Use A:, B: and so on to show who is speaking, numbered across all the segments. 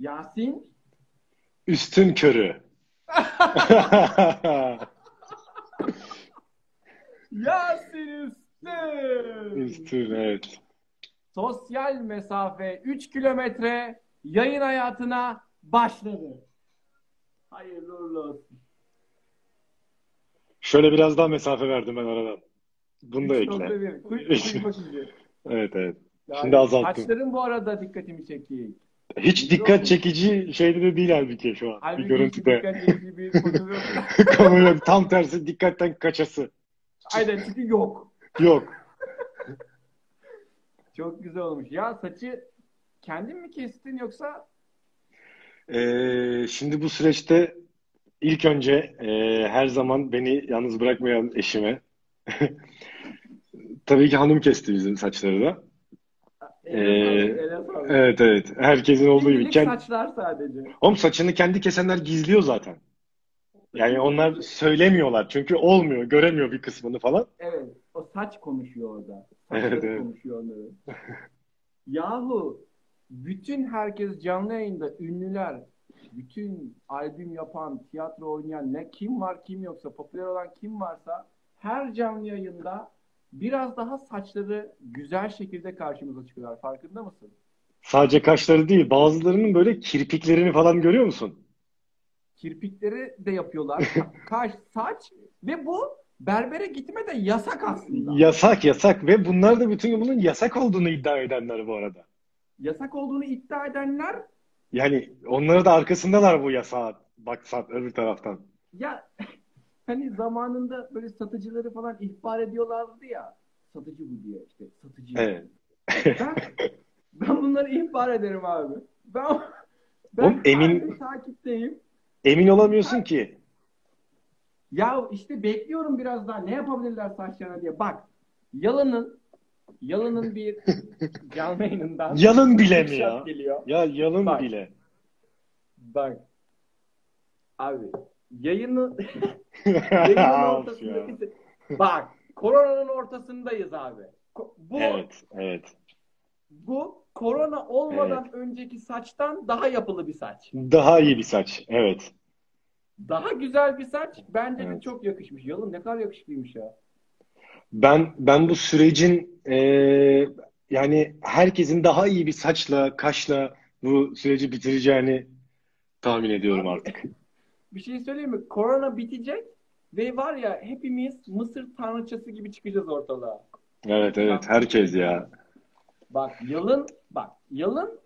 A: Yasin.
B: Üstün körü.
A: Yasin Üstün.
B: Üstün evet.
A: Sosyal mesafe 3 kilometre yayın hayatına başladı. Hayırlı uğurlu olsun.
B: Şöyle biraz daha mesafe verdim ben aradan. Bunu da
A: Üç nokta
B: ekle.
A: bir. Kuy- kuyma şimdi.
B: Evet evet.
A: Yani
B: Şimdi azalttım.
A: Saçların bu arada dikkatimi çekti.
B: Hiç dikkat çekici şeyde de değil halbuki şu an.
A: Halbuki
B: bir
A: hiç
B: görüntüde.
A: dikkat çekici bir konu yok.
B: Kamerayla tam tersi dikkatten kaçası.
A: Aynen çünkü yok.
B: Yok.
A: Çok güzel olmuş. Ya saçı kendin mi kestin yoksa
B: Ee, şimdi bu süreçte ilk önce e, her zaman beni yalnız bırakmayan eşime tabii ki hanım kesti bizim saçları da.
A: ele
B: Ee,
A: sağlık, ele sağlık.
B: Evet evet. Herkesin olduğu gibi.
A: Şimdilik
B: Kend-
A: saçlar sadece.
B: Oğlum saçını kendi kesenler gizliyor zaten. Yani onlar söylemiyorlar çünkü olmuyor, göremiyor bir kısmını falan.
A: Evet. O saç konuşuyor orada.
B: Evet,
A: Saçları
B: evet.
A: konuşuyor onları. Yahu bütün herkes canlı yayında ünlüler, bütün albüm yapan, tiyatro oynayan ne kim var kim yoksa popüler olan kim varsa her canlı yayında biraz daha saçları güzel şekilde karşımıza çıkıyorlar. Farkında mısın?
B: Sadece kaşları değil, bazılarının böyle kirpiklerini falan görüyor musun?
A: Kirpikleri de yapıyorlar. Ka- Kaş, saç ve bu berbere gitme de yasak aslında.
B: Yasak yasak ve bunlar da bütün bunun yasak olduğunu iddia edenler bu arada.
A: Yasak olduğunu iddia edenler
B: Yani onlara da arkasındalar bu yasağa baksan öbür taraftan.
A: Ya hani zamanında böyle satıcıları falan ihbar ediyorlardı ya. Satıcı bu diye işte satıcı.
B: Evet.
A: Ben, ben bunları ihbar ederim abi. Ben ben
B: Oğlum emin-
A: sadece takipteyim.
B: Emin olamıyorsun ki.
A: Ya işte bekliyorum biraz daha ne yapabilirler saçlarına diye. Bak Yalın'ın Yalın'ın bir canlı yayınından
B: Yalın bile mi
A: bir
B: ya?
A: şart Geliyor.
B: Ya yalın
A: Bak.
B: bile.
A: Bak abi yayını
B: Of
A: Yayının
B: ya.
A: ortasındaki... Bak, koronanın ortasındayız abi. Ko- Bu
B: Evet, evet.
A: bu korona olmadan önceki saçtan daha yapılı bir saç.
B: Daha iyi bir saç. Evet.
A: Daha güzel bir saç. Bence de
B: Evet.
A: çok yakışmış. Yalın ne kadar yakışıklıymış ya.
B: Ben ben bu sürecin eee, yani herkesin daha iyi bir saçla, kaşla bu süreci bitireceğini tahmin ediyorum artık.
A: Bir şey söyleyeyim mi? Korona bitecek ve var ya hepimiz Mısır tanrıçası gibi çıkacağız ortalığa.
B: Evet evet herkes ya.
A: Bak yılın bak yılın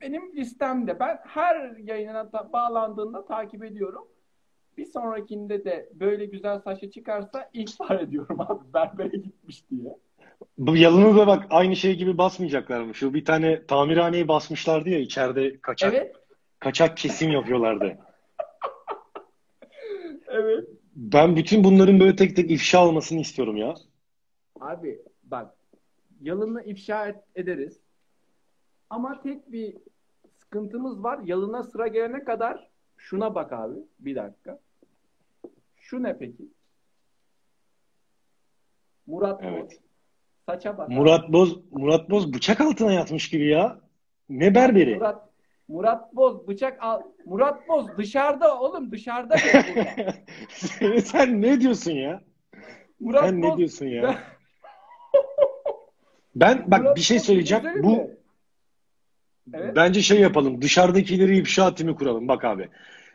A: benim listemde ben her yayına ta- bağlandığında takip ediyorum. Bir sonrakinde de böyle güzel saçı çıkarsa ihbar ediyorum abi berbere gitmiş diye.
B: Bu yalını da bak aynı şey gibi basmayacaklarmış. Şu bir tane tamirhaneyi basmışlardı ya içeride kaçak
A: Evet,
B: kaçak kesim yapıyorlardı.
A: evet.
B: Ben bütün bunların böyle tek tek ifşa olmasını istiyorum ya.
A: Abi bak yalını ifşa et- ederiz. Ama tek bir sıkıntımız var. Yalına sıra gelene kadar şuna bak abi. Bir dakika. Şu ne peki? Murat Boz.
B: Evet.
A: Saça bak.
B: Murat Boz Murat Boz bıçak altına yatmış gibi ya. Ne berberi?
A: Murat Murat Boz bıçak al. Murat Boz dışarıda oğlum dışarıda. değil burada.
B: Sen ne diyorsun ya?
A: Murat
B: Sen
A: Boz
B: ne diyorsun ya?
A: Ben-
B: Ben bak
A: Murat
B: bir şey
A: Boz
B: söyleyeceğim.
A: güzelim
B: Bu
A: mi? Evet.
B: bence şey yapalım. Dışarıdakileri ifşa timi kuralım. Bak abi.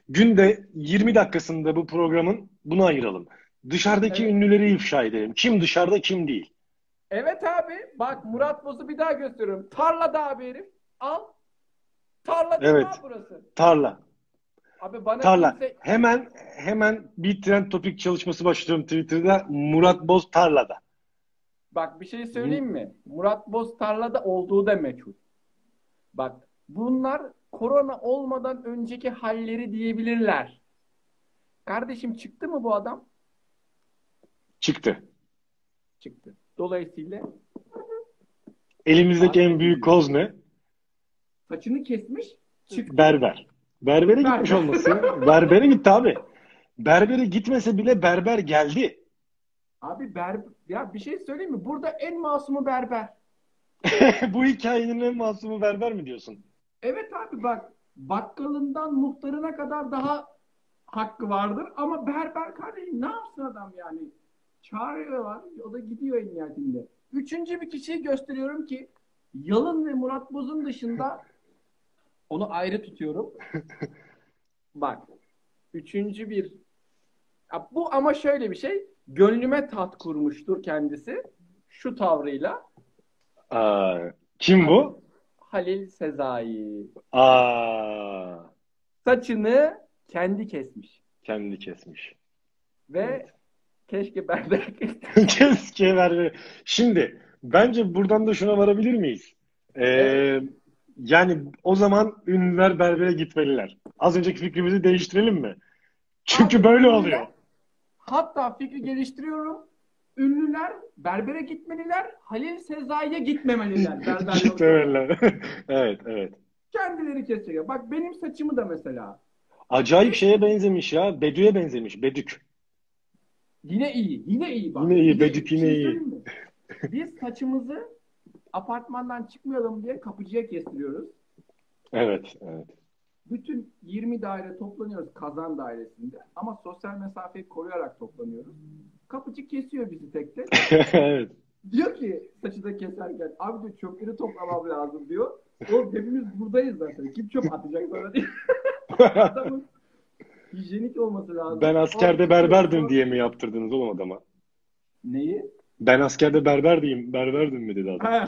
B: Günde 20 dakikasında bu programın bunu ayıralım. Dışarıdaki
A: Evet.
B: ünlüleri ifşa edelim. Kim dışarıda kim değil.
A: Evet abi bak Murat Boz'u bir daha gösteriyorum. Tarlada abi herif. Al. Tarla değil mi
B: Evet.
A: abi burası.
B: Tarla.
A: Abi bana
B: Tarla.
A: kimse-
B: Hemen hemen bir trend topik çalışması başlıyorum Twitter'da. Murat Boz tarlada.
A: Bak bir şey söyleyeyim mi? Murat Boz tarlada olduğu da meçhul. Bak bunlar korona olmadan önceki halleri diyebilirler. Kardeşim çıktı mı bu adam?
B: Çıktı.
A: Çıktı. Dolayısıyla
B: Elimizdeki en büyük koz ne?
A: saçını kesmiş çıktı.
B: Berber. Berbere
A: Berber.
B: gitmiş olması. ya. Berbere gitti abi. Berbere gitmese bile berber geldi.
A: Abi ber ya bir şey söyleyeyim mi? Burada en masumu berber.
B: Bu hikayenin en masumu berber mi diyorsun?
A: Evet abi bak bakkalından muhtarına kadar daha hakkı vardır ama berber kardeşim ne yapsın adam yani? Çağırıyorlar o da gidiyor en nihayetinde. Üçüncü bir kişiyi gösteriyorum ki Yalın ve Murat Boz'un dışında onu ayrı tutuyorum. Bak üçüncü bir ya bu ama şöyle bir şey gönlüme tat kurmuştur kendisi şu tavrıyla
B: Aa, kim bu?
A: Halil Sezai.
B: Aa,
A: Saçını kendi kesmiş.
B: kendi kesmiş.
A: Ve
B: Evet.
A: keşke ben de kestim.
B: Keşke berber. Şimdi bence buradan da şuna varabilir miyiz? Ee,
A: Evet.
B: yani o zaman ünlüler berbere gitmeliler. Az önceki fikrimizi değiştirelim mi? Çünkü
A: Abi,
B: böyle
A: ünlüler-
B: oluyor.
A: Hatta fikri geliştiriyorum. Ünlüler berbere gitmeliler, Halil Sezai'ye gitmemeliler. Berber yok.
B: Gitmemeliler. evet, evet.
A: Kendileri kesecek. Bak benim saçımı da mesela.
B: Acayip şeye benzemiş ya. Bedü'ye benzemiş. Bedük.
A: Yine iyi, yine iyi bak.
B: Yine iyi,
A: Bir
B: Bedük
A: şey
B: yine iyi.
A: söyleyeyim mi? Biz saçımızı apartmandan çıkmayalım diye kapıcıya kestiriyoruz.
B: Evet, evet.
A: Bütün 20 daire toplanıyoruz kazan dairesinde ama sosyal mesafeyi koruyarak toplanıyoruz. Kapıcı kesiyor bizi tek tek.
B: evet.
A: Diyor ki saçı da keserken abi diyor çöpleri toplamam lazım diyor. Oğlum hepimiz buradayız zaten. Kim çöp atacak sana diye. Adamın hijyenik olması lazım.
B: Ben askerde
A: Abi,
B: berberdim diye mi yaptırdınız oğlum adama?
A: Neyi?
B: Ben askerde berberdiyim, berberdim mi dedi adam.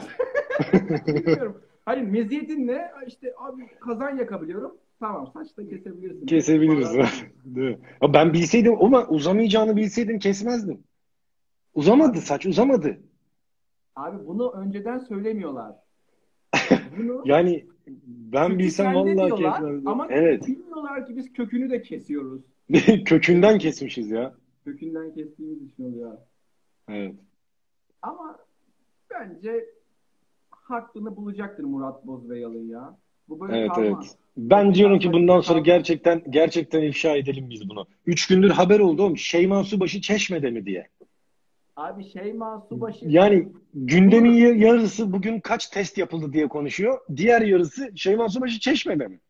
A: Ha. Bilmiyorum. Hani meziyetin ne? İşte abi kazan yakabiliyorum. Tamam saç da kesebilirsin.
B: Kesebiliriz. Değil mi? Ya ben bilseydim ama uzamayacağını bilseydim kesmezdim. Uzamadı saç, uzamadı.
A: Abi bunu önceden söylemiyorlar. Bunu
B: Yani ben
A: Çünkü
B: bilsem
A: sende
B: vallahi
A: diyorlar
B: kesmezdim.
A: Ama
B: Evet.
A: bilmiyorlar ki biz kökünü de kesiyoruz.
B: Kökünden kesmişiz ya.
A: Kökünden kestiğimiz için oluyor.
B: Evet.
A: Ama bence hakkını bulacaktır Murat Boz ve Yalın ya. Bu böyle
B: Evet,
A: kalmaz.
B: evet. Ben diyorum ki bundan sonra gerçekten gerçekten ifşa edelim biz bunu. Üç gündür haber oldu oğlum. Şeyman Subaşı Çeşme'de mi diye.
A: Abi Şeyma Subaşı
B: Yani gündemin ya- yarısı bugün kaç test yapıldı diye konuşuyor. Diğer yarısı Şeyman Subaşı Çeşme'de mi?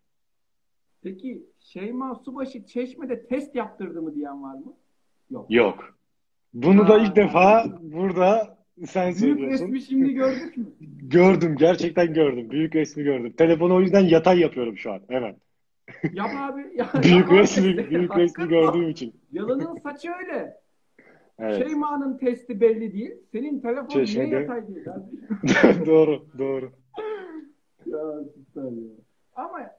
A: peki Şeyma Subaşı Çeşme'de test yaptırdı mı diyen var mı? Yok.
B: Yok. Bunu da
A: Aa.
B: ilk defa burada sen
A: Büyük
B: söylüyorsun.
A: resmi şimdi gördük mü?
B: Gördüm, gerçekten gördüm. Büyük resmi gördüm. Telefonu o yüzden yatay yapıyorum şu an hemen.
A: Yap abi. Ya,
B: Büyük
A: yap abi
B: resmi,
A: testi.
B: büyük resmi
A: Hakkın
B: gördüğüm
A: var.
B: için.
A: Yalının saçı öyle.
B: Evet.
A: Şeyma'nın testi belli değil. Senin telefon
B: Çeşmede.
A: niye yatay değil? abi? Şey-
B: Doğru, doğru.
A: ya, süper ya. Ama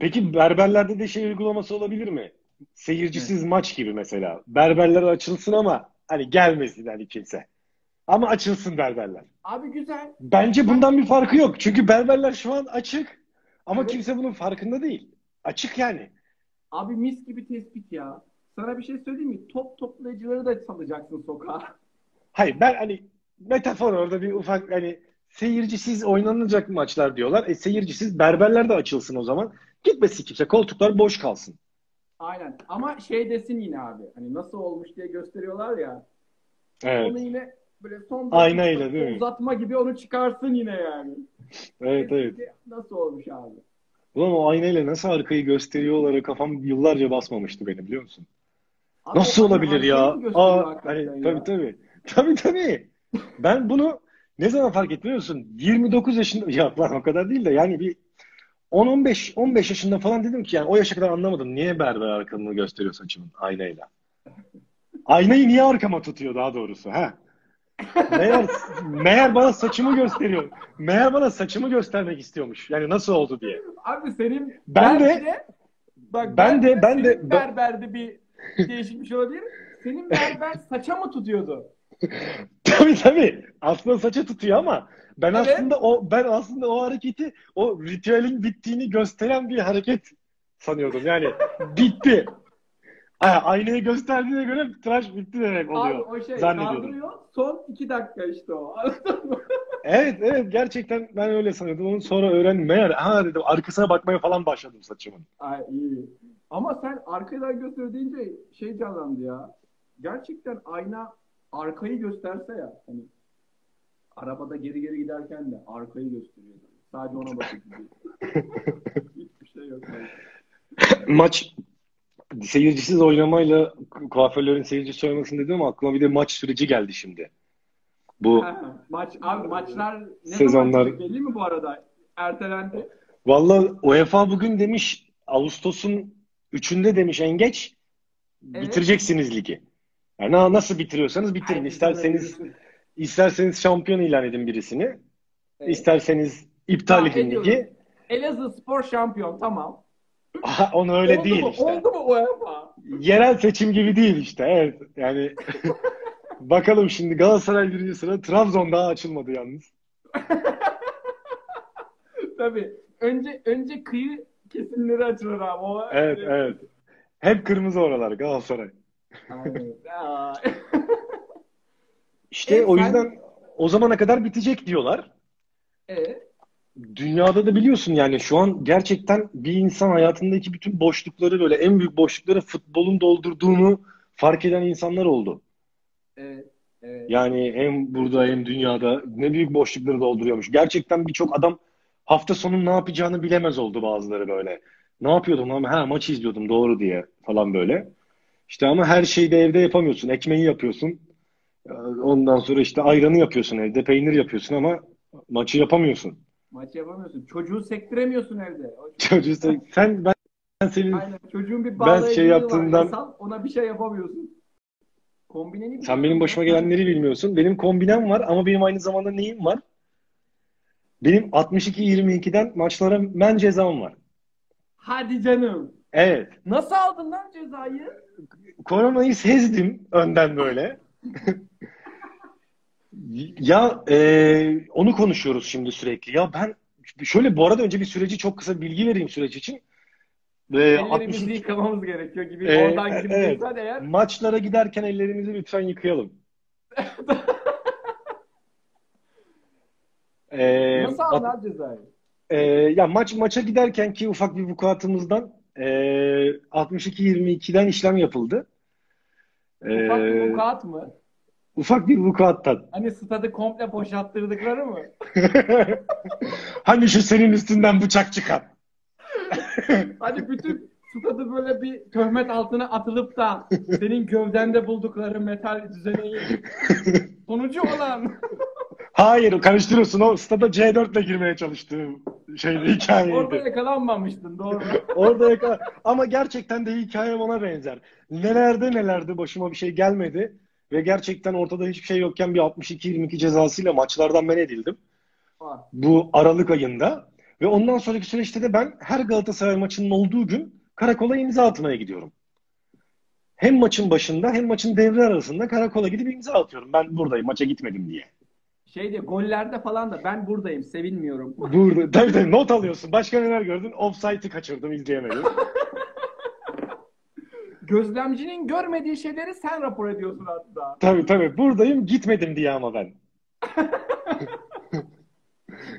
B: Peki berberlerde de şey uygulaması olabilir mi? Seyircisiz maç gibi mesela. Berberler açılsın ama hani gelmesin hani kimse. Ama açılsın berberler.
A: abi güzel.
B: Bence bundan bir farkı yok. Çünkü berberler şu an açık ama
A: Evet.
B: kimse bunun farkında değil. Açık yani.
A: Abi mis gibi tespit ya. Sana bir şey söyleyeyim mi? Top toplayıcıları da salacaksın sokağa.
B: Hayır ben hani metafor orada bir ufak hani seyircisiz oynanacak maçlar diyorlar. E seyircisiz berberler de açılsın o zaman. Gitmesin kimse. Koltuklar boş kalsın.
A: Aynen. Ama şey desin yine abi. Hani nasıl olmuş diye gösteriyorlar ya.
B: Evet.
A: Onu yine böyle son
B: Aynayla,
A: dakika
B: değil mi?
A: uzatma gibi onu çıkarsın yine yani.
B: Evet evet.
A: Nasıl olmuş abi?
B: Ulan o aynayla nasıl arkayı gösteriyor olarak kafam yıllarca basmamıştı benim biliyor musun?
A: Abi
B: Nasıl
A: o
B: olabilir
A: arkayı
B: ya?
A: mı gösteriyor
B: Aa,
A: hakikaten
B: hani,
A: ya?
B: tabii tabii. Tabii tabii. Ben bunu ne zaman fark ettim biliyor musun? 29 yaşında ya lan o kadar değil de yani bir 10-15 15 yaşında falan dedim ki yani o yaşa kadar anlamadım. Niye berber arkamı gösteriyor saçımın aynayla? Aynayı niye arkama tutuyor daha doğrusu? Ha? Meğer, meğer bana saçımı gösteriyor. Meğer bana saçımı göstermek istiyormuş. Yani nasıl oldu diye.
A: Abi senin
B: Ben de-
A: belki bak
B: ben
A: belki
B: de- ben de-
A: senin berberde bir değişikmiş olabilir. Senin berber saça mı tutuyordu?
B: Tabii tabii. Aslında saça tutuyor ama ben
A: Evet.
B: aslında o ben aslında o hareketi o ritüelin bittiğini gösteren bir hareket sanıyordum. Yani bitti. Ha, aynayı gösterdiğine göre tıraş bitti demek oluyor.
A: Abi o şey
B: zannediyordum.
A: kaldırıyor. Son iki dakika işte o.
B: Evet evet gerçekten ben öyle sanıyordum. Onu sonra öğrendim. Meğer ha dedim arkasına bakmaya falan başladım saçımın.
A: Ay iyi. Ama sen arkadan gösteriyor deyince şey canlandı ya. Gerçekten ayna arkayı gösterse ya. Hani Arabada geri geri giderken de arkayı gösteriyordu. Sadece ona bakıp gidiyor. Hiçbir şey yok. yani.
B: Maç seyircisiz oynamayla kuaförlerin seyircisi oynamasını dedim ama aklıma bir de maç süreci geldi şimdi. Bu
A: Ha, Maç, abi maçlar ne
B: Sezonlar-
A: zaman belli mi bu arada? Ertelendi.
B: Vallahi UEFA bugün demiş Ağustos'un 3'ünde demiş en geç
A: Evet.
B: bitireceksiniz ligi. Yani na- nasıl bitiriyorsanız bitirin.
A: Herkes
B: İsterseniz
A: olabilir.
B: isterseniz şampiyon ilan edin birisini.
A: Evet.
B: İsterseniz iptal
A: Ya,
B: edin
A: ediyorum.
B: ligi.
A: Elazığ Spor şampiyon tamam.
B: Aha, Onu öyle
A: Oldu
B: değil
A: mu?
B: işte.
A: Oldu mu UEFA?
B: Yerel seçim gibi değil işte. Evet. Yani bakalım şimdi Galatasaray birinci sıra. Trabzon daha açılmadı yalnız.
A: Tabii. Önce önce kıyı kesimleri açılır abi. O,
B: Evet, evet. Hep kırmızı oralar Galatasaray.
A: Aynen. Aa.
B: İşte
A: Evet,
B: o
A: ben-
B: yüzden o zamana kadar bitecek diyorlar.
A: Evet.
B: Dünyada da biliyorsun yani şu an gerçekten bir insan hayatındaki bütün boşlukları böyle en büyük boşlukları futbolun doldurduğunu fark eden insanlar oldu.
A: Evet. Evet.
B: Yani hem burada hem dünyada ne büyük boşlukları dolduruyormuş. Gerçekten birçok adam hafta sonu ne yapacağını bilemez oldu bazıları böyle. Ne yapıyordum ama ha maç izliyordum doğru diye falan böyle. İşte ama her şeyi de evde yapamıyorsun. Ekmeği yapıyorsun. Ee, Ondan sonra işte ayranı yapıyorsun evde, peynir yapıyorsun ama maçı yapamıyorsun.
A: Maç yapamıyorsun. Çocuğu sektiremiyorsun evde. O-
B: Çocuğu sen, sen ben, ben senin
A: Aynen. Çocuğun bir
B: şey
A: bağlayıcılığı
B: yaptığımdan-
A: var. Yasal, ona bir şey yapamıyorsun. Kombineni bir-
B: sen benim başıma gelenleri bilmiyorsun. Benim kombinem var ama benim aynı zamanda neyim var? Benim 62-22'den maçlara men cezam var.
A: Hadi canım.
B: Evet.
A: Nasıl aldın lan cezayı?
B: Koronayı sezdim önden böyle. ya e, onu konuşuyoruz şimdi sürekli. Ya ben şöyle bu arada önce bir süreci çok kısa bilgi vereyim süreç için. E,
A: Ellerimizi
B: 62
A: yıkamamız gerekiyor gibi.
B: Ee,
A: Oradan gibi
B: evet.
A: evet. eğer.
B: maçlara giderken ellerimizi lütfen yıkayalım. E,
A: Nasıl
B: at-
A: aldın lan cezayı?
B: Ee, ya maç maça giderken ki ufak bir vukuatımızdan ee, 62-22'den işlem yapıldı. Ee,
A: Ufak bir vukuat mı?
B: ufak bir vukuattan.
A: Hani stadı komple boşalttırdıkları mı?
B: Hani şu senin üstünden bıçak çıkan.
A: Hani bütün stadı böyle bir töhmet altına atılıp da senin gövdende buldukları metal düzeneyi sonucu olan
B: Hayır karıştırıyorsun o stada C4 ile girmeye çalıştığım şey hikayeydi.
A: orada yakalanmamıştın doğru.
B: Orada yaka- Ama gerçekten de hikaye ona benzer. Nelerde nelerde başıma bir şey gelmedi. Ve gerçekten ortada hiçbir şey yokken bir 62-22 cezasıyla maçlardan men edildim. bu Aralık ayında ve ondan sonraki süreçte de ben her Galatasaray maçının olduğu gün karakola imza atmaya gidiyorum. Hem maçın başında hem maçın devre arasında karakola gidip imza atıyorum. Ben buradayım maça gitmedim diye.
A: Şey diye gollerde falan da ben buradayım sevinmiyorum.
B: Burada tabii tabii not alıyorsun. Başka neler gördün? Offside'ı kaçırdım izleyemedim.
A: Gözlemcinin görmediği şeyleri sen rapor ediyorsun hatta.
B: tabii tabii buradayım gitmedim diye ama ben.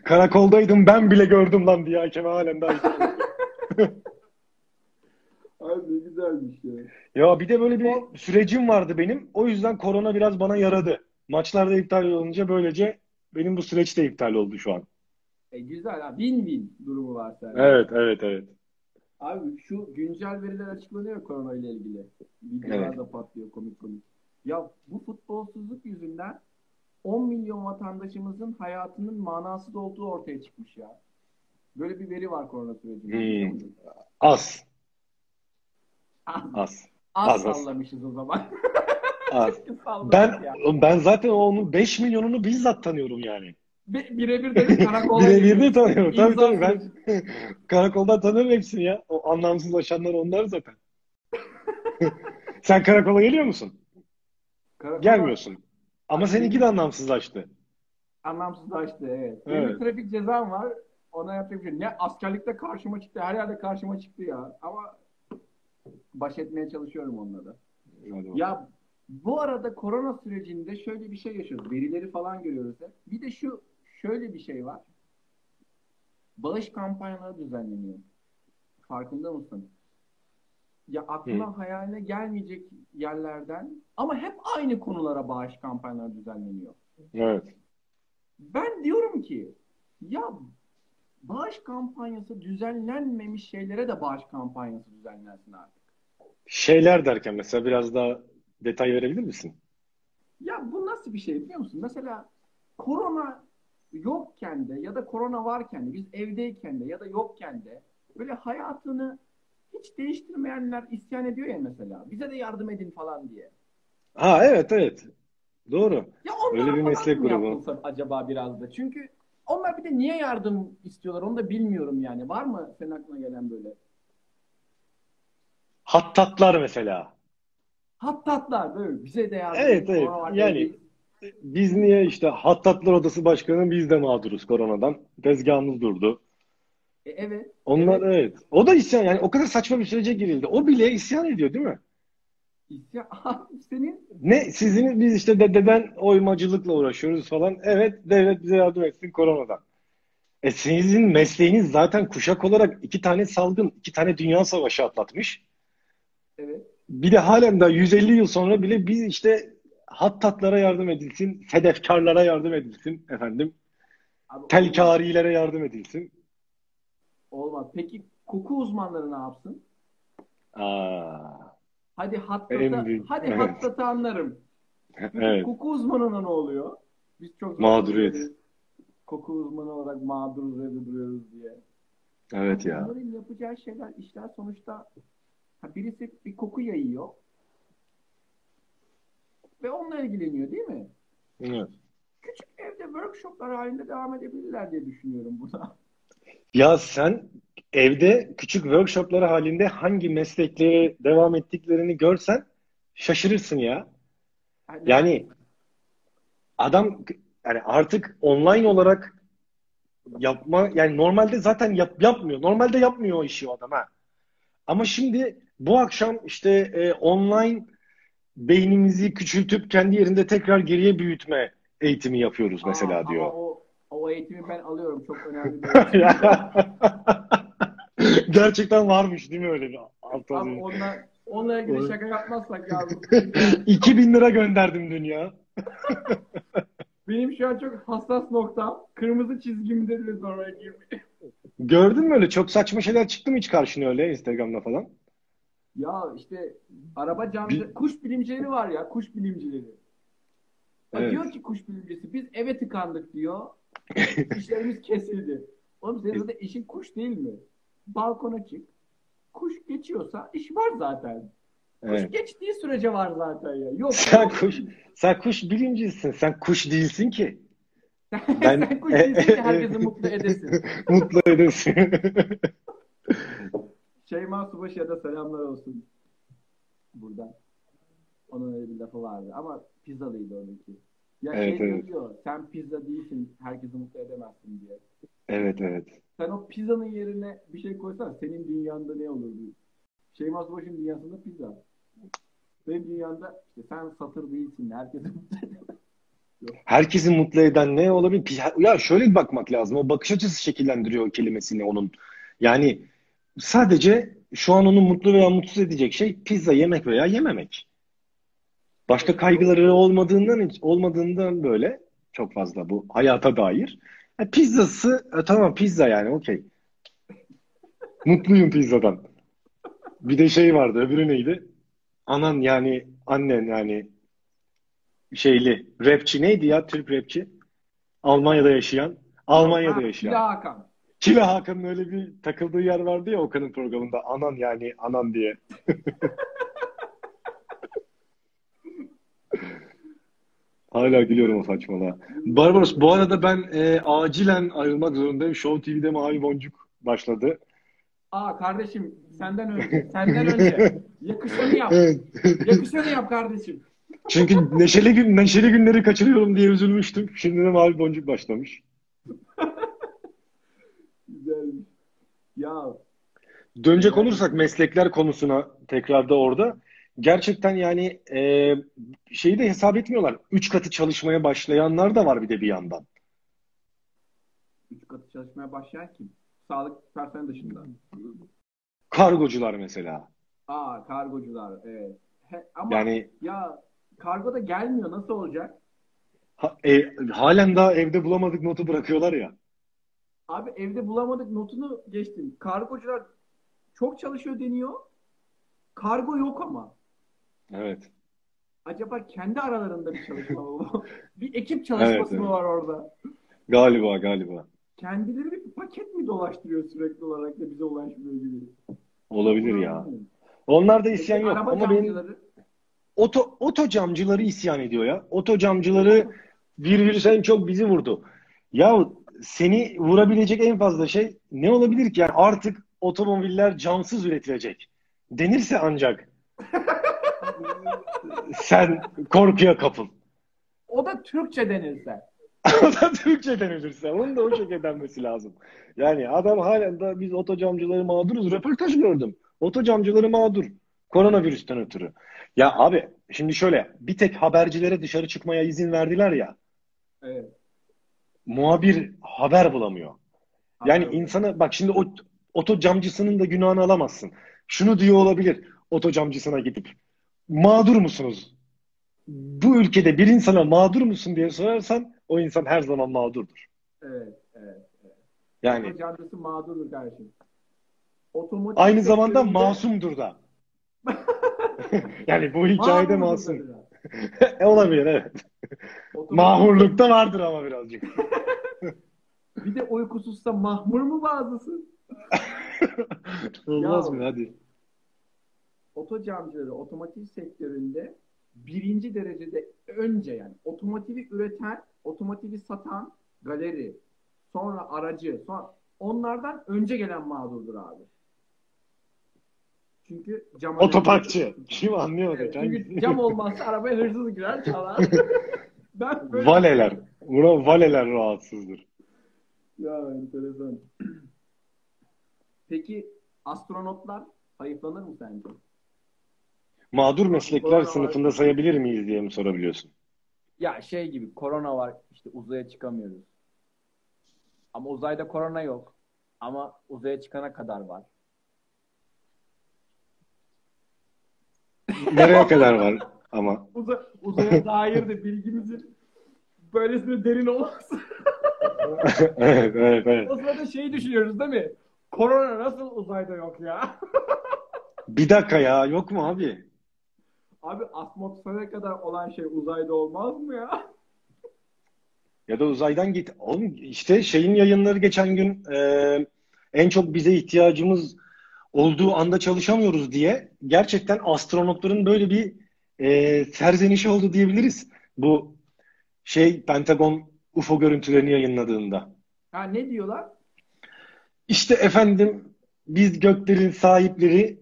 B: Karakoldaydım ben bile gördüm lan diye hakeme halen daha.
A: Abi ne güzelmiş ya.
B: Ya bir de böyle bir sürecim vardı benim. O yüzden korona biraz bana yaradı. Maçlarda iptal olunca böylece benim bu süreç de iptal oldu şu an.
A: E güzel ha win win durumu var sende.
B: Evet, evet, evet.
A: Abi şu güncel veriler açıklanıyor korona ile ilgili. Videolar
B: Evet.
A: da patlıyor komik komik. Ya bu futbolsuzluk yüzünden 10 milyon vatandaşımızın hayatının manasız olduğu ortaya çıkmış ya. Böyle bir veri var korona sürecinde.
B: Hmm.
A: biliyor musun?
B: Az,
A: Az,
B: az,
A: az
B: az, az.
A: sallamışız o zaman.
B: az.
A: Salladık
B: Ben
A: ya.
B: ben zaten onun 5 milyonunu bizzat tanıyorum yani.
A: Bi- birebir dedik karakola.
B: Birebir
A: girdik.
B: de tanıyorum. Tabii
A: İmza
B: tabii ben
A: süreci.
B: karakoldan tanırım hepsini ya. O anlamsızlaşanlar onlar zaten. Sen karakola geliyor musun?
A: Karakola
B: Gelmiyorsun. Ama seninki de anlamsızlaştı.
A: Anlamsızlaştı evet. Benim
B: Evet.
A: bir trafik cezam var. Ona yapacak bir şey. Ne askerlikte karşıma çıktı. Her yerde karşıma çıktı ya. Ama baş etmeye çalışıyorum onunla da. Ya bu arada korona sürecinde şöyle bir şey yaşıyoruz. Verileri falan görüyoruz hep. Bir de şu şöyle bir şey var. Bağış kampanyaları düzenleniyor. Farkında mısın? Ya aklına hayaline gelmeyecek yerlerden ama hep aynı konulara bağış kampanyaları düzenleniyor.
B: Evet.
A: Ben diyorum ki ya bağış kampanyası düzenlenmemiş şeylere de bağış kampanyası düzenlensin artık.
B: Şeyler derken mesela biraz daha detay verebilir misin?
A: Ya bu nasıl bir şey biliyor musun? Mesela korona yokken de ya da korona varken de biz evdeyken de ya da yokken de böyle hayatını hiç değiştirmeyenler isyan ediyor ya mesela. Bize de yardım edin falan diye.
B: Ha evet evet. Doğru.
A: Ya onlara
B: Öyle bir
A: falan
B: meslek
A: mı
B: grubu.
A: yapılsa acaba biraz da? Çünkü onlar bir de niye yardım istiyorlar onu da bilmiyorum yani. Var mı senin aklına gelen böyle?
B: Hattatlar mesela.
A: Hattatlar böyle bize de yardım
B: Evet,
A: edin,
B: evet.
A: korona var
B: Yani-
A: değil.
B: Biz niye işte Hattatlar Odası Başkanı biz de mağduruz koronadan. Tezgahımız durdu.
A: E, evet.
B: Onlar evet. O da isyan yani o kadar saçma bir sürece girildi. O bile isyan ediyor değil mi?
A: İsyan. Abi Ah, senin
B: Ne sizin biz işte dededen oymacılıkla uğraşıyoruz falan. Evet devlet bize yardım etsin koronadan. E sizin mesleğiniz zaten kuşak olarak iki tane salgın, iki tane dünya savaşı atlatmış.
A: evet.
B: Bir de halen daha 150 yıl sonra bile biz işte hattatlara yardım edilsin, sedefkarlara yardım edilsin efendim.
A: Abi, olmaz.
B: Telkarilere yardım edilsin.
A: olmaz. Peki koku uzmanları ne yapsın?
B: Aa,
A: Hadi hattata,
B: En büyük-
A: hadi
B: evet.
A: hattata anlarım.
B: evet.
A: Koku uzmanına ne oluyor? Biz çok
B: Mağduriyet.
A: Koku uzmanı olarak mağduruz ve duruyoruz diye.
B: Evet ya.
A: Bunların yapacağı şeyler, işler sonuçta ha, birisi bir koku yayıyor ve onunla ilgileniyor değil mi?
B: Evet.
A: Küçük evde workshoplar halinde devam edebilirler diye düşünüyorum buna.
B: Ya sen evde küçük workshopları halinde hangi meslekleri devam ettiklerini görsen şaşırırsın ya.
A: Hani
B: Yani adam yani artık online olarak yapma yani normalde zaten yap, yapmıyor. Normalde yapmıyor o işi o adam ha. Ama şimdi bu akşam işte e, online beynimizi küçültüp kendi yerinde tekrar geriye büyütme eğitimi yapıyoruz mesela
A: Aa,
B: diyor.
A: Ama o, o eğitimi ben alıyorum. Çok önemli bir eğitim.
B: Gerçekten varmış değil mi öyle bir alt
A: Abi
B: alıyor?
A: onunla, onunla ilgili şaka yapmazsak ya.
B: 2000 lira gönderdim dün ya.
A: Benim şu an çok hassas noktam. Kırmızı çizgimdir lütfen oraya girmeyin.
B: Gördün mü öyle çok saçma şeyler çıktı mı hiç karşına öyle Instagram'da falan?
A: Ya işte araba
B: Bil-
A: camcı, kuş bilimcileri var ya, kuş bilimcileri. Ya
B: Evet.
A: Diyor ki kuş bilimcisi, biz eve tıkandık diyor. İşlerimiz kesildi. Oğlum
B: E-
A: senin zaten işin kuş değil mi? Balkona çık. Kuş geçiyorsa iş var zaten. Kuş
B: Evet.
A: geçtiği sürece var zaten ya. Yok.
B: Sen
A: yok.
B: kuş, sen kuş bilimcisin. Sen kuş değilsin ki. Ben-
A: Sen kuş değilsin ki herkesi mutlu edesin.
B: Mutlu edesin.
A: Şeyma Subaşı'ya da selamlar olsun. Buradan. Onun öyle bir lafı vardı. Ama pizzalıydı onunki. Ya
B: Evet,
A: şey
B: evet.
A: diyor, sen pizza değilsin, herkesi mutlu edemezsin diye.
B: evet evet.
A: Sen o pizzanın yerine bir şey koysan senin dünyanda ne olurdu? Şeyma Subaşı'nın dünyasında pizza. Benim dünyamda işte sen satır değilsin, herkesi mutlu edemezsin.
B: Herkesi mutlu eden ne olabilir? Pi- Ya şöyle bir bakmak lazım. O bakış açısı şekillendiriyor o kelimesini onun. Yani sadece şu an onu mutlu veya mutsuz edecek şey pizza yemek veya yememek. Başka kaygıları olmadığından olmadığından böyle çok fazla bu hayata dair. E, pizzası e, tamam pizza yani okey. Mutluyum pizzadan. Bir de şey vardı öbürü neydi? Anan yani annen yani şeyli rapçi neydi ya Türk rapçi? Almanya'da yaşayan. Almanya'da
A: Ha,
B: yaşayan.
A: Kila Hakan.
B: Kila Hakan'ın öyle bir takıldığı yer vardı ya Okan'ın programında. Anan yani anan diye. Hala gülüyorum o saçmalığa. Barbaros bu arada ben e, acilen ayrılmak zorundayım. Show TV'de Mavi Boncuk başladı.
A: Aa kardeşim senden önce, senden önce. Yakışanı yap.
B: Evet.
A: Yakışanı yap kardeşim.
B: Çünkü neşeli gün neşeli günleri kaçırıyorum diye üzülmüştüm. Şimdi de Mavi Boncuk başlamış.
A: Güzelmiş. Ya
B: Dönecek olursak meslekler konusuna tekrar da orada. Gerçekten yani e, şeyi de hesap etmiyorlar. Üç katı çalışmaya başlayanlar da var bir de bir yandan.
A: üç katı çalışmaya başlayan kim? Sağlık personeli dışında.
B: Kargocular mesela.
A: Aa kargocular. Evet. He, ama
B: Yani
A: ya kargo da gelmiyor nasıl olacak?
B: Ha- e, halen daha evde bulamadık notu bırakıyorlar ya.
A: Abi evde bulamadık notunu geçtim. Kargocular çok çalışıyor deniyor. Kargo yok ama.
B: Evet.
A: Acaba kendi aralarında bir çalışma mı bu? bir ekip çalışması
B: Evet,
A: mı
B: evet.
A: var orada?
B: Galiba galiba.
A: Kendileri bir paket mi dolaştırıyor sürekli olarak da bize ulaşmıyor gibi?
B: Olabilir ya.
A: Anlamıyorum.
B: Onlarda isyan
A: Peki,
B: yok
A: araba
B: ama benim
A: camcıları-
B: oto oto camcıları isyan ediyor ya. Oto camcıları bir virüs en çok bizi vurdu. Ya seni vurabilecek en fazla şey ne olabilir ki? Yani artık otomobiller camsız üretilecek. Denirse ancak sen korkuya kapıl.
A: O da Türkçe denirse.
B: O da Türkçe denilirse. Onun da o şekilde denmesi lazım. Yani adam halen daha biz otocamcıları mağduruz. Röportaj gördüm. Otocamcıları mağdur. Koronavirüsten ötürü. Ya abi şimdi şöyle bir tek habercilere dışarı çıkmaya izin verdiler ya.
A: Evet.
B: Muhabir haber bulamıyor. Yani
A: Anladım.
B: insana bak şimdi o otocamcısının da günahını alamazsın. Şunu diyor olabilir otocamcısına gidip. Mağdur musunuz? Bu ülkede bir insana mağdur musun diye sorarsan o insan her zaman mağdurdur.
A: Evet, evet.
B: Yani
A: Camcısı mağdurdur kardeşim. Otomotiv
B: aynı zamanda
A: sektöründe-
B: masumdur da. Yani bu hikayede
A: Mağdurdur
B: masum. E,
A: dediler.
B: Olabilir evet.
A: Otomotiv-
B: Mahurlukta vardır ama birazcık.
A: Bir de uykusuzsa mahmur mu bazısı?
B: Olmaz
A: Ya.
B: mı hadi.
A: Otocamcıları otomotiv sektöründe birinci derecede önce yani otomotivi üreten, otomotivi satan galeri, sonra aracı, sonra onlardan önce gelen mağdurdur abi. Çünkü cam
B: Otoparkçı. Kim anlıyor?
A: Evet,
B: Hangi-
A: çünkü cam olmazsa arabaya hırsız girer çalar. ben böyle...
B: Valeler. Buna valeler rahatsızdır.
A: Ya enteresan. Peki astronotlar hayıflanır mı sence?
B: Mağdur meslekler
A: Korona
B: sınıfında sayabilir miyiz diye mi sorabiliyorsun?
A: Ya şey gibi korona var işte uzaya çıkamıyoruz. Ama uzayda korona yok. Ama uzaya çıkana kadar var.
B: Nereye kadar var ama?
A: Uza, uzaya dair de bilgimizin böylesine derin olması.
B: evet, evet, evet.
A: o sırada şeyi düşünüyoruz değil mi? Korona nasıl uzayda yok ya?
B: Bir dakika ya, yok mu abi?
A: Abi atmosfere kadar olan şey uzayda olmaz mı ya?
B: Ya da uzaydan git. Oğlum işte şeyin yayınları geçen gün e, en çok bize ihtiyacımız olduğu anda çalışamıyoruz diye gerçekten astronotların böyle bir e, serzenişi oldu diyebiliriz. Bu şey Pentagon UFO görüntülerini yayınladığında.
A: Ha ne diyorlar?
B: İşte efendim biz göklerin sahipleri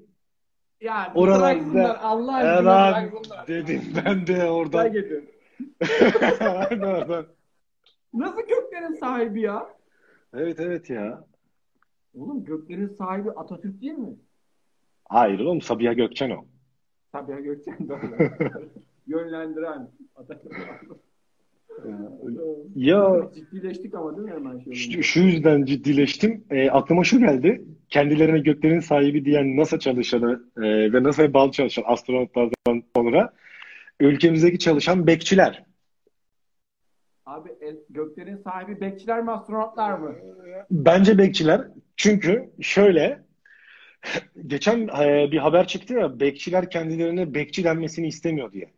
A: Ya
B: Oralarda-
A: bıraksınlar Allah
B: Ee,
A: aşkına
B: ben
A: bıraksınlar.
B: dedim ben de
A: Ben
B: oradan.
A: geliyorum.
B: Ben de oradan.
A: Nasıl göklerin sahibi ya?
B: Evet evet ya.
A: Oğlum göklerin sahibi Atatürk değil mi?
B: Hayır oğlum Sabiha Gökçen o.
A: Tabii ya Gökçen de öyle. Yönlendiren Atatürk.
B: Ee, Ya
A: Ciddileştik ama değil mi hemen şey?
B: Şu şu yüzden ciddileştim. E, aklıma şu geldi. Kendilerine göklerin sahibi diyen NASA çalışanı e, ve NASA'ya bağlı çalışan astronotlardan sonra ülkemizdeki çalışan bekçiler.
A: Abi e, göklerin sahibi bekçiler mi astronotlar mı?
B: Bence bekçiler. Çünkü şöyle geçen e, bir haber çıktı ya bekçiler kendilerine bekçi denmesini istemiyor diye.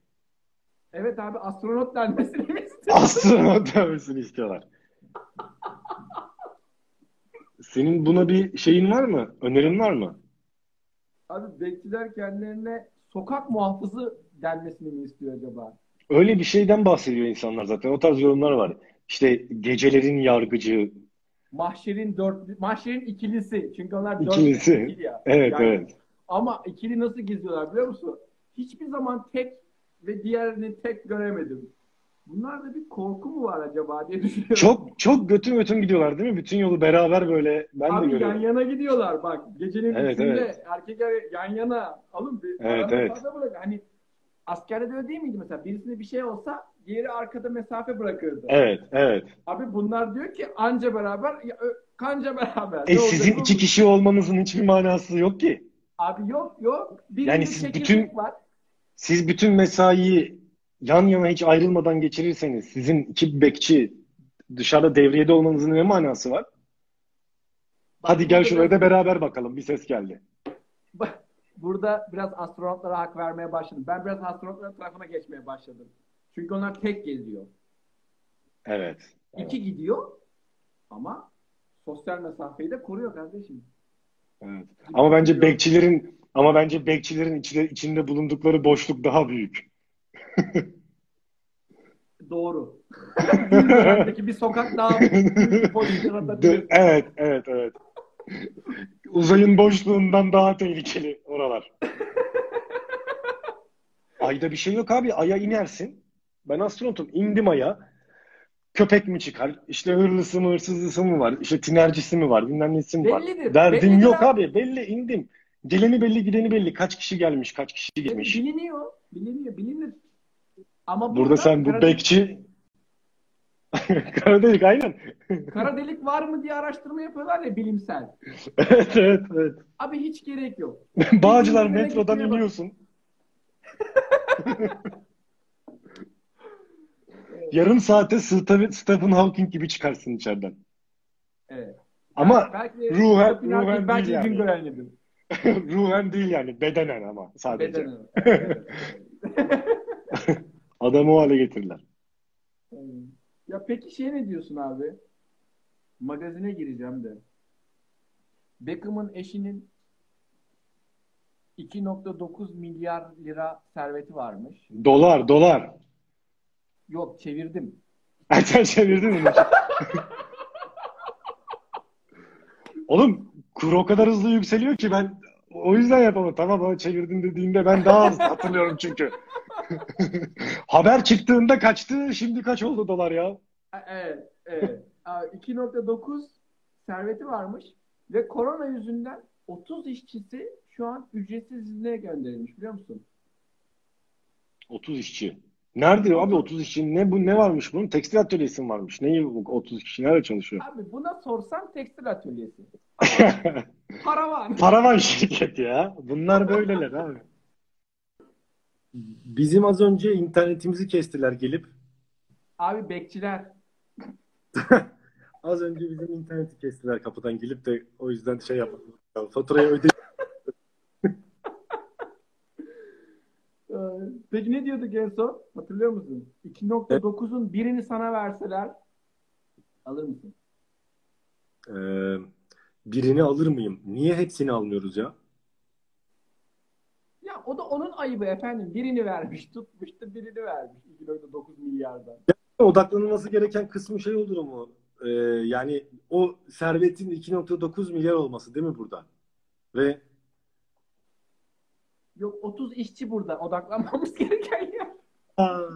A: Evet abi astronot denmesini mi istiyor?
B: Astronot denmesini istiyorlar. Senin buna bir şeyin var mı? Önerin var mı?
A: Abi bekçiler kendilerine sokak muhafızı denmesini mi istiyor acaba?
B: Öyle bir şeyden bahsediyor insanlar zaten. O tarz yorumlar var. İşte gecelerin yargıcı.
A: Mahşerin dört, mahşerin ikilisi. Çünkü onlar dört
B: İkilisi.
A: ikili ya.
B: Evet
A: Yani
B: evet.
A: Ama ikili nasıl gizliyorlar biliyor musun? Hiçbir zaman tek ve diğerini tek göremedim. Bunlarda bir korku mu var acaba diye düşünüyorum.
B: Çok çok götün götün gidiyorlar değil mi? Bütün yolu beraber böyle ben de
A: Abi yan
B: görüyorum.
A: yana gidiyorlar bak. Gecenin
B: Evet,
A: üçünde
B: evet.
A: erkekler yan yana. Alın bir
B: Evet,
A: arada
B: evet.
A: fazla bırak. Hani askerde de öyle değil miydi mesela? Birisine bir şey olsa diğeri arkada mesafe bırakırdı.
B: Evet evet.
A: Abi bunlar diyor ki anca beraber ya, ö- kanca beraber. Ne
B: E
A: olacak
B: sizin
A: oğlum?
B: iki kişi olmanızın hiçbir manası yok ki.
A: Abi yok yok. Bir
B: Yani
A: bir
B: siz
A: çekirdeği
B: bütün-
A: var.
B: Siz bütün mesaiyi yan yana hiç ayrılmadan geçirirseniz sizin iki bekçi dışarıda devriyede olmanızın ne manası var? Hadi gel şuraya da beraber bakalım. Bir ses geldi.
A: Burada biraz astronotlara hak vermeye başladım. Ben biraz astronotların tarafına geçmeye başladım. Çünkü onlar tek geziyor.
B: Evet. Evet.
A: İki gidiyor ama sosyal mesafeyi de koruyor kardeşim.
B: evet. Ama bence bekçilerin ama bence bekçilerin içinde, içinde bulundukları boşluk daha büyük.
A: Doğru. Peki bir sokak daha polis
B: De-
A: yaratabilir.
B: evet, evet, evet. Uzayın boşluğundan daha tehlikeli oralar. Ayda bir şey yok abi. Ay'a inersin. Ben astronotum. İndim Ay'a. Köpek mi çıkar? İşte hırlısı mı, hırsızlısı mı var? İşte tinercisi mi var? Bilmem nesi mi var?
A: Bellidir.
B: Derdim
A: Bellidir
B: yok
A: abi.
B: abi. Belli indim. Geleni belli, gideni belli. Kaç kişi gelmiş, kaç kişi gitmiş.
A: şey Biliniyor. Biliniyor. Bilinir. Ama
B: Burada sen bu
A: kara,
B: bekçi... Kara delik aynen.
A: kara delik var mı diye araştırma yapıyorlar ya bilimsel.
B: evet, evet, evet.
A: Abi hiç gerek yok.
B: Bağcılar
A: Birbirine
B: metrodan
A: gitmeye bak-
B: iniyorsun. Yarım saate Stephen, Stephen Hawking gibi çıkarsın içeriden.
A: Evet.
B: Ama
A: belki
B: ruhen-
A: Köpün artık
B: ruhen
A: belki
B: değil yani.
A: gün görenledim.
B: ruhen değil yani bedenen ama sadece.
A: Beden olarak. Evet.
B: Adamı o hale getirirler.
A: Evet. ya peki şey ne diyorsun abi? Magazine gireceğim de. Beckham'ın eşinin 2.9 milyar lira serveti varmış.
B: Dolar dolar.
A: Yok çevirdim.
B: Erken çevirdin mi? Oğlum kur o kadar hızlı yükseliyor ki ben o yüzden yapamadım. Tamam bana çevirdin dediğinde ben daha hızlı hatırlıyorum çünkü. Haber çıktığında kaçtı. Şimdi kaç oldu dolar ya?
A: E- Evet, evet. Aa, 2.9 serveti varmış ve korona yüzünden 30 işçisi şu an ücretsiz izne gönderilmiş biliyor musun?
B: 30 işçi. Nerede abi 30 işçi? Ne bu ne varmış bunun? Tekstil atölyesi mi varmış? Neyi bu 30 kişi nerede çalışıyor?
A: Abi buna sorsan tekstil atölyesi. Paravan.
B: Paravan şirket ya. Bunlar böyleler abi. Bizim az önce internetimizi kestiler gelip.
A: Abi bekçiler.
B: Az önce bizim interneti kestiler kapıdan gelip de o yüzden şey yapmadım. Faturayı ödedim.
A: Ee, Peki ne diyorduk en son? Hatırlıyor musun? 2.9'un birini sana verseler alır mısın?
B: Ee, birini alır mıyım? Niye hepsini almıyoruz ya?
A: Ya o da onun ayıbı efendim. Birini vermiş, tutmuş da birini vermiş 2.9 milyardan.
B: Odaklanılması gereken kısmı şey olur mu? Ee, yani o servetin 2.9 milyar olması değil mi burada? Ve
A: Yok 30 işçi burada. Odaklanmamız gereken yer.
B: Aa.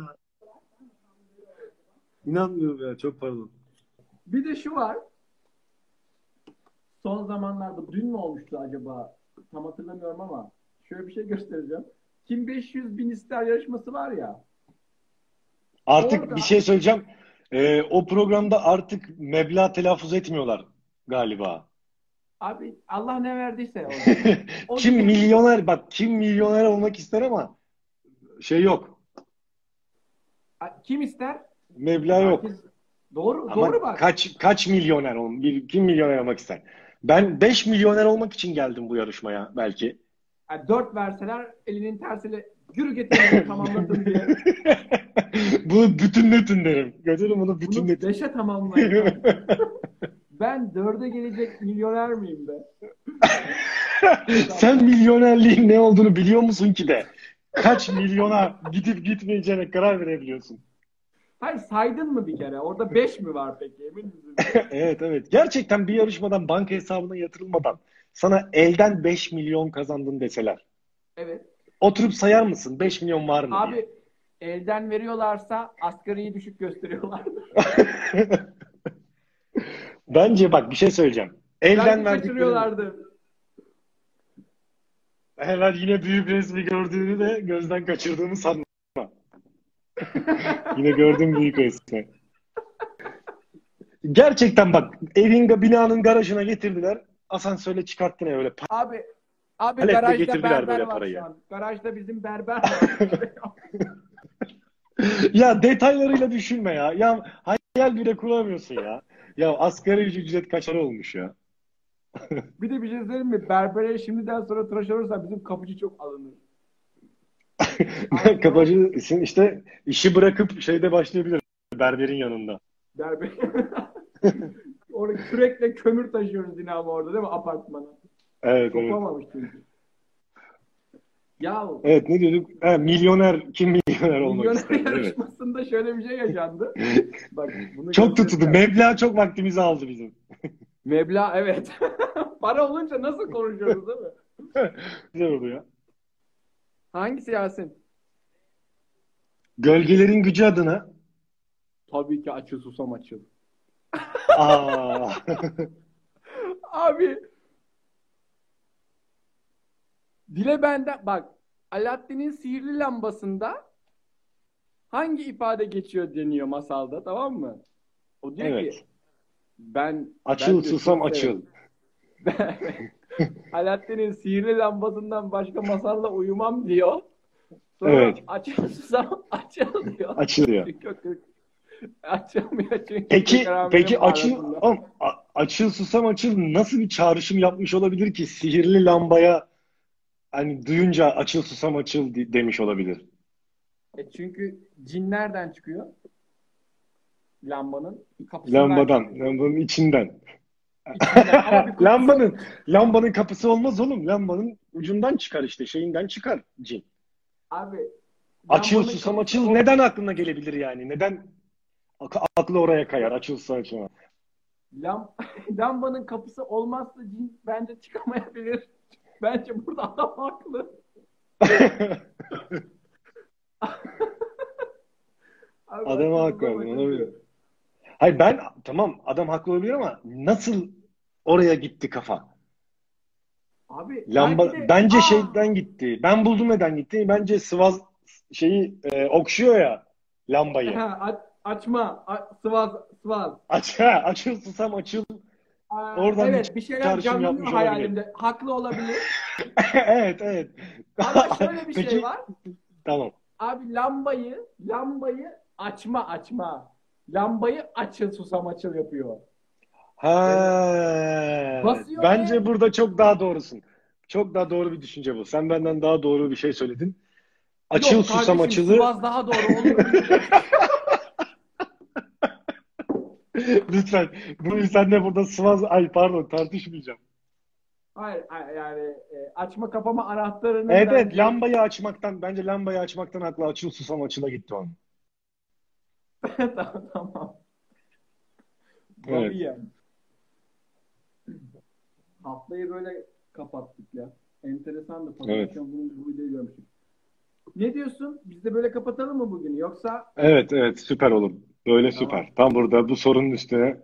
B: İnanmıyorum ya çok pardon.
A: Bir de şu var. Son zamanlarda dün mü olmuştu acaba? Tam hatırlamıyorum ama şöyle bir şey göstereceğim. Kim 500 bin ister yarışması var ya.
B: Artık
A: Orada-
B: bir şey söyleyeceğim. Ee, o programda artık meblağ telaffuz etmiyorlar galiba.
A: Abi Allah ne verdiyse o. O-
B: kim milyoner bak kim milyoner olmak ister ama şey yok.
A: Kim ister?
B: Meblağ yok.
A: Herkes- Doğru,
B: Ama
A: doğru bak.
B: kaç kaç milyoner ol bir- kim milyoner olmak ister? Ben 5 milyoner olmak için geldim bu yarışmaya belki.
A: Yani dört verseler elinin tersiyle yürü getirin tamamladım diye.
B: bunu bütünletin derim. Götürün bunu
A: Bunu
B: bütünletin.
A: beşe tamamlayın. ben dörde gelecek milyoner miyim be?
B: Sen milyonerliğin ne olduğunu biliyor musun ki de? Kaç milyona gidip gitmeyeceğine karar verebiliyorsun.
A: Hayır saydın mı bir kere? Orada beş mi var peki? Emin misin?
B: Evet evet. Gerçekten bir yarışmadan banka hesabına yatırılmadan sana elden 5 milyon kazandın deseler.
A: Evet.
B: Oturup sayar mısın 5 milyon var mı diye.
A: Abi elden veriyorlarsa asgariyi düşük gösteriyorlardır.
B: Bence bak bir şey söyleyeceğim. Elden
A: Belki
B: verdiklerini
A: kaçırıyorlardı.
B: hemen yine büyük resmi gördüğünü de gözden kaçırdığını sanma. yine gördüm büyük resmi. Gerçekten bak evin binanın garajına getirdiler. Asansörle çıkarttın öyle.
A: Abi Abi
B: Halep'te
A: garajda
B: getirdiler
A: berber
B: böyle
A: var
B: parayı.
A: şu an. Garajda bizim berber var.
B: ya detaylarıyla düşünme ya. Ya hayal bile kuramıyorsun ya. Ya asgari ücret kaçar olmuş ya.
A: Bir de bir şey söyleyeyim mi? Berbere şimdiden sonra tıraş olursa bizim kapıcı çok alınır. Aynen.
B: Kapacı işte işi bırakıp şeyde başlayabilir. Berberin yanında.
A: Berber. Orada kürekle kömür taşıyoruz yine ama orada değil mi apartmana?
B: Evet, evet.
A: Kopamamış çünkü. Ya
B: Evet ne diyorduk? Ha, milyoner kim milyoner olmak
A: milyoner
B: ister? Evet.
A: yarışmasında şöyle bir şey yaşandı. Bak bunu
B: Çok tutuldu.
A: göstereceğim.
B: Meblağ çok vaktimizi aldı bizim.
A: Meblağ evet. Para olunca nasıl konuşuyoruz değil mi?
B: Güzel oldu ya.
A: Hangisi Yasin?
B: Gölgelerin gücü adına.
A: Tabii ki açıl susam açıl.
B: Aa.
A: Abi. Dile benden bak Alaaddin'in sihirli lambasında hangi ifade geçiyor deniyor masalda tamam mı? O diyor
B: Evet.
A: ki ben
B: Açıl
A: ben diyor,
B: susam
A: çok severim.
B: açıl.
A: Alaaddin'in sihirli lambasından başka masalla uyumam diyor. Sonra
B: Evet.
A: açıl susam açıl diyor.
B: Açıl ya.
A: Çünkü o kırk- açılmıyor çünkü.
B: Peki
A: kırk
B: peki
A: aramızın
B: açıl
A: arasında.
B: Oğlum, a- açıl susam açıl nasıl bir çağrışım yapmış olabilir ki sihirli lambaya hani duyunca açıl susam açıl de- demiş olabilir.
A: E çünkü cin nereden çıkıyor? Lambanın kapısından
B: Lambadan,
A: çıkıyor.
B: lambanın içinden.
A: İçinden. Ama bir kapısı-
B: Lambanın lambanın kapısı olmaz oğlum. Lambanın ucundan çıkar işte şeyinden çıkar cin.
A: Abi
B: Açıl
A: lambanın
B: susam
A: kapısı-
B: açıl neden aklına gelebilir yani? Neden ak- aklı oraya kayar açıl susam açıl.
A: Lam, lambanın kapısı olmazsa cin bence çıkamayabilir. Bence burada adam haklı. Abi
B: Adam
A: açıl
B: haklı,
A: susam açıl
B: olabilir.
A: diyor.
B: Hayır ben tamam adam haklı olabilir ama nasıl oraya gitti kafa?
A: Abi
B: Lamba
A: belki de-
B: bence şey-
A: Aa!
B: şeyden gitti. Ben buldum neden gitti. Bence Sivas şeyi e, okşuyor ya lambayı.
A: Ha, aç- açma. A, sıvaz, sıvaz.
B: Aç ha, açıl susam açıl.
A: Aa,
B: Oradan
A: evet
B: bir
A: bir şeyler
B: çağrışım
A: canlanıyor
B: yapmış olabilir.
A: hayalimde. Haklı olabilir.
B: Evet evet.
A: Ama şöyle bir
B: Peki
A: şey var.
B: tamam.
A: Abi lambayı, lambayı açma açma. Lambayı açıl susam açıl yapıyor.
B: Ha.
A: Basıyor
B: Bence
A: ve-
B: burada çok daha doğrusun. Çok daha doğru bir düşünce bu. Sen benden daha doğru bir şey söyledin. Açıl
A: Yok
B: susam
A: kardeşim,
B: açılı.
A: Sivas daha doğru olur.
B: Lütfen. Bu yüzden de burada Sivas ay pardon tartışmayacağım.
A: Hayır a- yani e, açma kapama anahtarını
B: Evet
A: ben-
B: evet lambayı açmaktan bence lambayı açmaktan aklı açıl susam açıla gitti onun.
A: tamam tamam.
B: Evet.
A: Tabii ya. Haftayı böyle kapattık ya. Enteresan da
B: Evet.
A: bunu bu videoyu görmüştük. Ne diyorsun? Biz de böyle kapatalım mı bugün? Yoksa
B: Evet evet süper olur. Böyle
A: Tamam.
B: süper. Tam burada bu sorunun üstüne.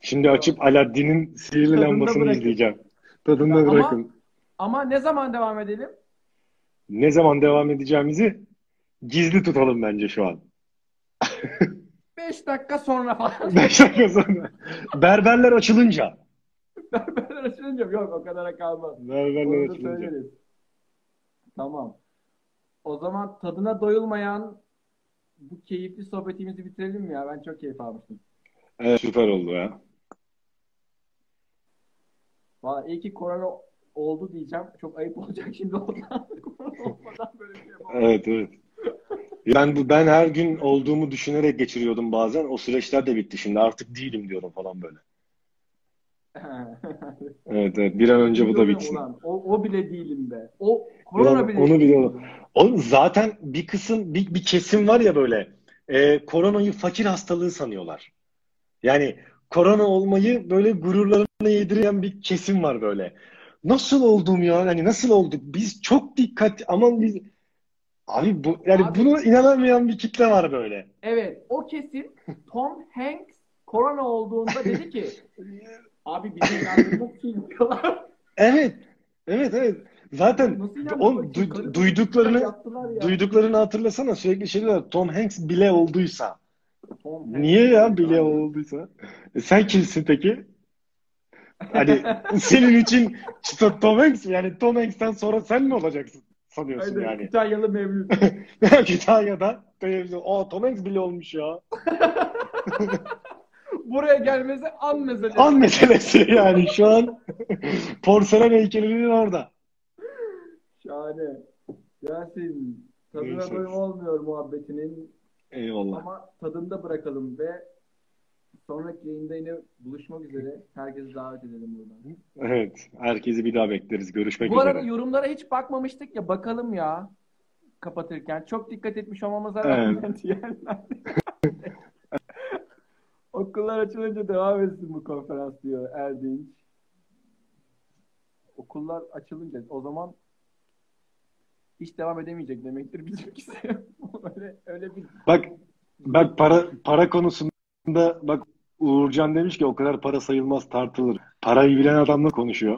B: Şimdi açıp Aladdin'in sihirli
A: Tadında
B: lambasını
A: bırakın.
B: izleyeceğim. Tadında
A: Ama-
B: bırakın.
A: ama ne zaman devam edelim?
B: Ne zaman devam edeceğimizi gizli tutalım bence şu an.
A: 5 dakika sonra falan.
B: Beş dakika sonra. Berberler açılınca.
A: Berberler açılınca mı? yok o kadara kalmaz.
B: Berberler
A: Onu da
B: açılınca.
A: söyleriz. Tamam. O zaman tadına doyulmayan bu keyifli sohbetimizi bitirelim mi ya? Ben çok keyif almıştım.
B: Evet süper oldu ya.
A: Valla iyi ki korona oldu diyeceğim. Çok ayıp olacak şimdi olmadan. Korona olmadan böyle bir şey yapamam.
B: Evet evet. Ben bu ben her gün olduğumu düşünerek geçiriyordum bazen. O süreçler de bitti şimdi. Artık değilim diyorum falan böyle. Evet evet. Bir an önce bu da bitsin.
A: Ulan, o, o bile değilim be. O korona
B: Ulan
A: bile
B: onu
A: değilim.
B: biliyorum. Oğlum zaten bir kısım bir, bir kesim var ya böyle e, koronayı fakir hastalığı sanıyorlar. Yani korona olmayı böyle gururlarına yediren bir kesim var böyle. Nasıl oldum ya? Hani nasıl olduk? Biz çok dikkat aman biz abi bu yani
A: Abi-
B: buna inanamayan bir kitle var böyle.
A: Evet o kesin Tom Hanks korona olduğunda dedi ki abi şey bizi inandırmak için diyorlar.
B: Evet. Evet evet. Zaten
A: Nasıl inandırmak
B: oğlum
A: için?
B: du-
A: Karı koca
B: duyduklarını-
A: yaptılar ya.
B: duyduklarını hatırlasana sürekli şeyler var. Tom Hanks bile olduysa.
A: Tom Hanks.
B: Niye ya bile olduysa? E sen kimsin peki? Hani senin için Tom Hanks mi? Yani Tom Hanks'ten sonra sen mi olacaksın? sanıyorsun
A: Aynen,
B: yani.
A: İtalyalı Mevlüt.
B: Kütahya'da televizyon. Aa Tom Hanks bile olmuş ya.
A: Buraya gelmesi an meselesi.
B: An meselesi yani şu an porselen heykelinin orada.
A: Şahane. Yasin, tadına
B: Görüşürüz.
A: doyum olmuyor muhabbetinin
B: Eyvallah.
A: ama tadında bırakalım ve sonraki yayında yine buluşmak üzere. Herkesi davet edelim buradan.
B: Evet. Herkesi bir daha bekleriz. Görüşmek
A: Bu
B: üzere.
A: arada yorumlara hiç bakmamıştık ya bakalım ya kapatırken. Çok dikkat etmiş olmamıza
B: Evet.
A: rağmen diğerler. Okullar açılınca devam etsin bu konferans diyor Erdinç. Okullar açılınca o zaman hiç devam edemeyecek demektir bizimkisi. öyle, öyle bir
B: Bak bak para para konusunda bak Uğurcan demiş ki o kadar para sayılmaz tartılır. Parayı bilen adamla konuşuyor.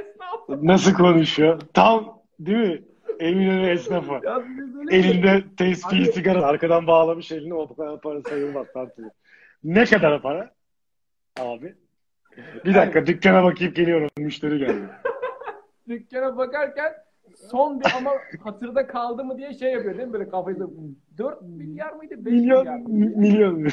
A: esnaf.
B: Nasıl konuşuyor? Tam değil mi? Eminönü esnafa.
A: Ya biz öyle
B: Elinde tespihi
A: Abi-
B: sigara arkadan bağlamış elini o kadar para sayılmaz tartılır. Ne kadar para? Abi. Bir dakika dükkana bakıp geliyorum. Müşteri geldi.
A: dükkana bakarken son bir ama hatırda kaldı mı diye şey yapıyor değil mi? Böyle kafayı 4 milyar mıydı? 5 milyar
B: Milyon,
A: mıydı?
B: milyon.